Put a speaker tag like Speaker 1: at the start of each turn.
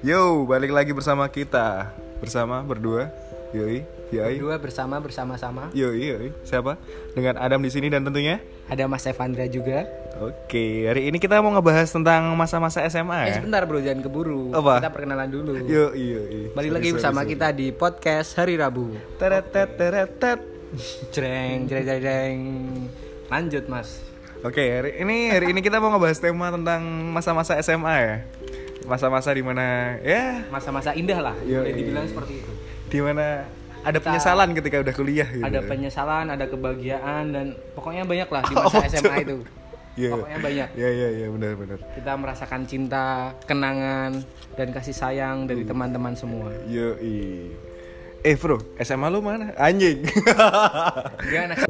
Speaker 1: Yo, balik lagi bersama kita. Bersama berdua. Yoi, yoi.
Speaker 2: Dua bersama bersama-sama.
Speaker 1: Yoi, yoi. Siapa? Dengan Adam di sini dan tentunya.
Speaker 2: Ada Mas Evandra juga.
Speaker 1: Oke, hari ini kita mau ngebahas tentang masa-masa SMA
Speaker 2: Eh
Speaker 1: ya.
Speaker 2: sebentar bro, jangan keburu.
Speaker 1: Apa? Iya.
Speaker 2: Kita perkenalan dulu.
Speaker 1: Yoi, yoi.
Speaker 2: Balik lagi bersama kita di podcast hari Rabu.
Speaker 1: Teret, teret, teret, teret.
Speaker 2: Jreng, jreng, jreng, jreng. Lanjut mas.
Speaker 1: Oke, hari ini hari ini kita mau ngebahas tema tentang masa-masa SMA ya. Masa-masa di mana ya
Speaker 2: Masa-masa indah lah,
Speaker 1: Yo,
Speaker 2: boleh
Speaker 1: iya.
Speaker 2: dibilang seperti itu.
Speaker 1: di mana ada penyesalan ketika udah kuliah gitu.
Speaker 2: Ada penyesalan, ada kebahagiaan dan pokoknya banyak lah di masa SMA itu.
Speaker 1: Iya.
Speaker 2: Pokoknya banyak.
Speaker 1: Iya, iya, iya, benar, benar.
Speaker 2: Kita merasakan cinta, kenangan dan kasih sayang dari
Speaker 1: Hmm.
Speaker 2: teman-teman semua.
Speaker 1: Yoi. Eh, Bro, SMA lu mana? Anjing.
Speaker 2: Gimana?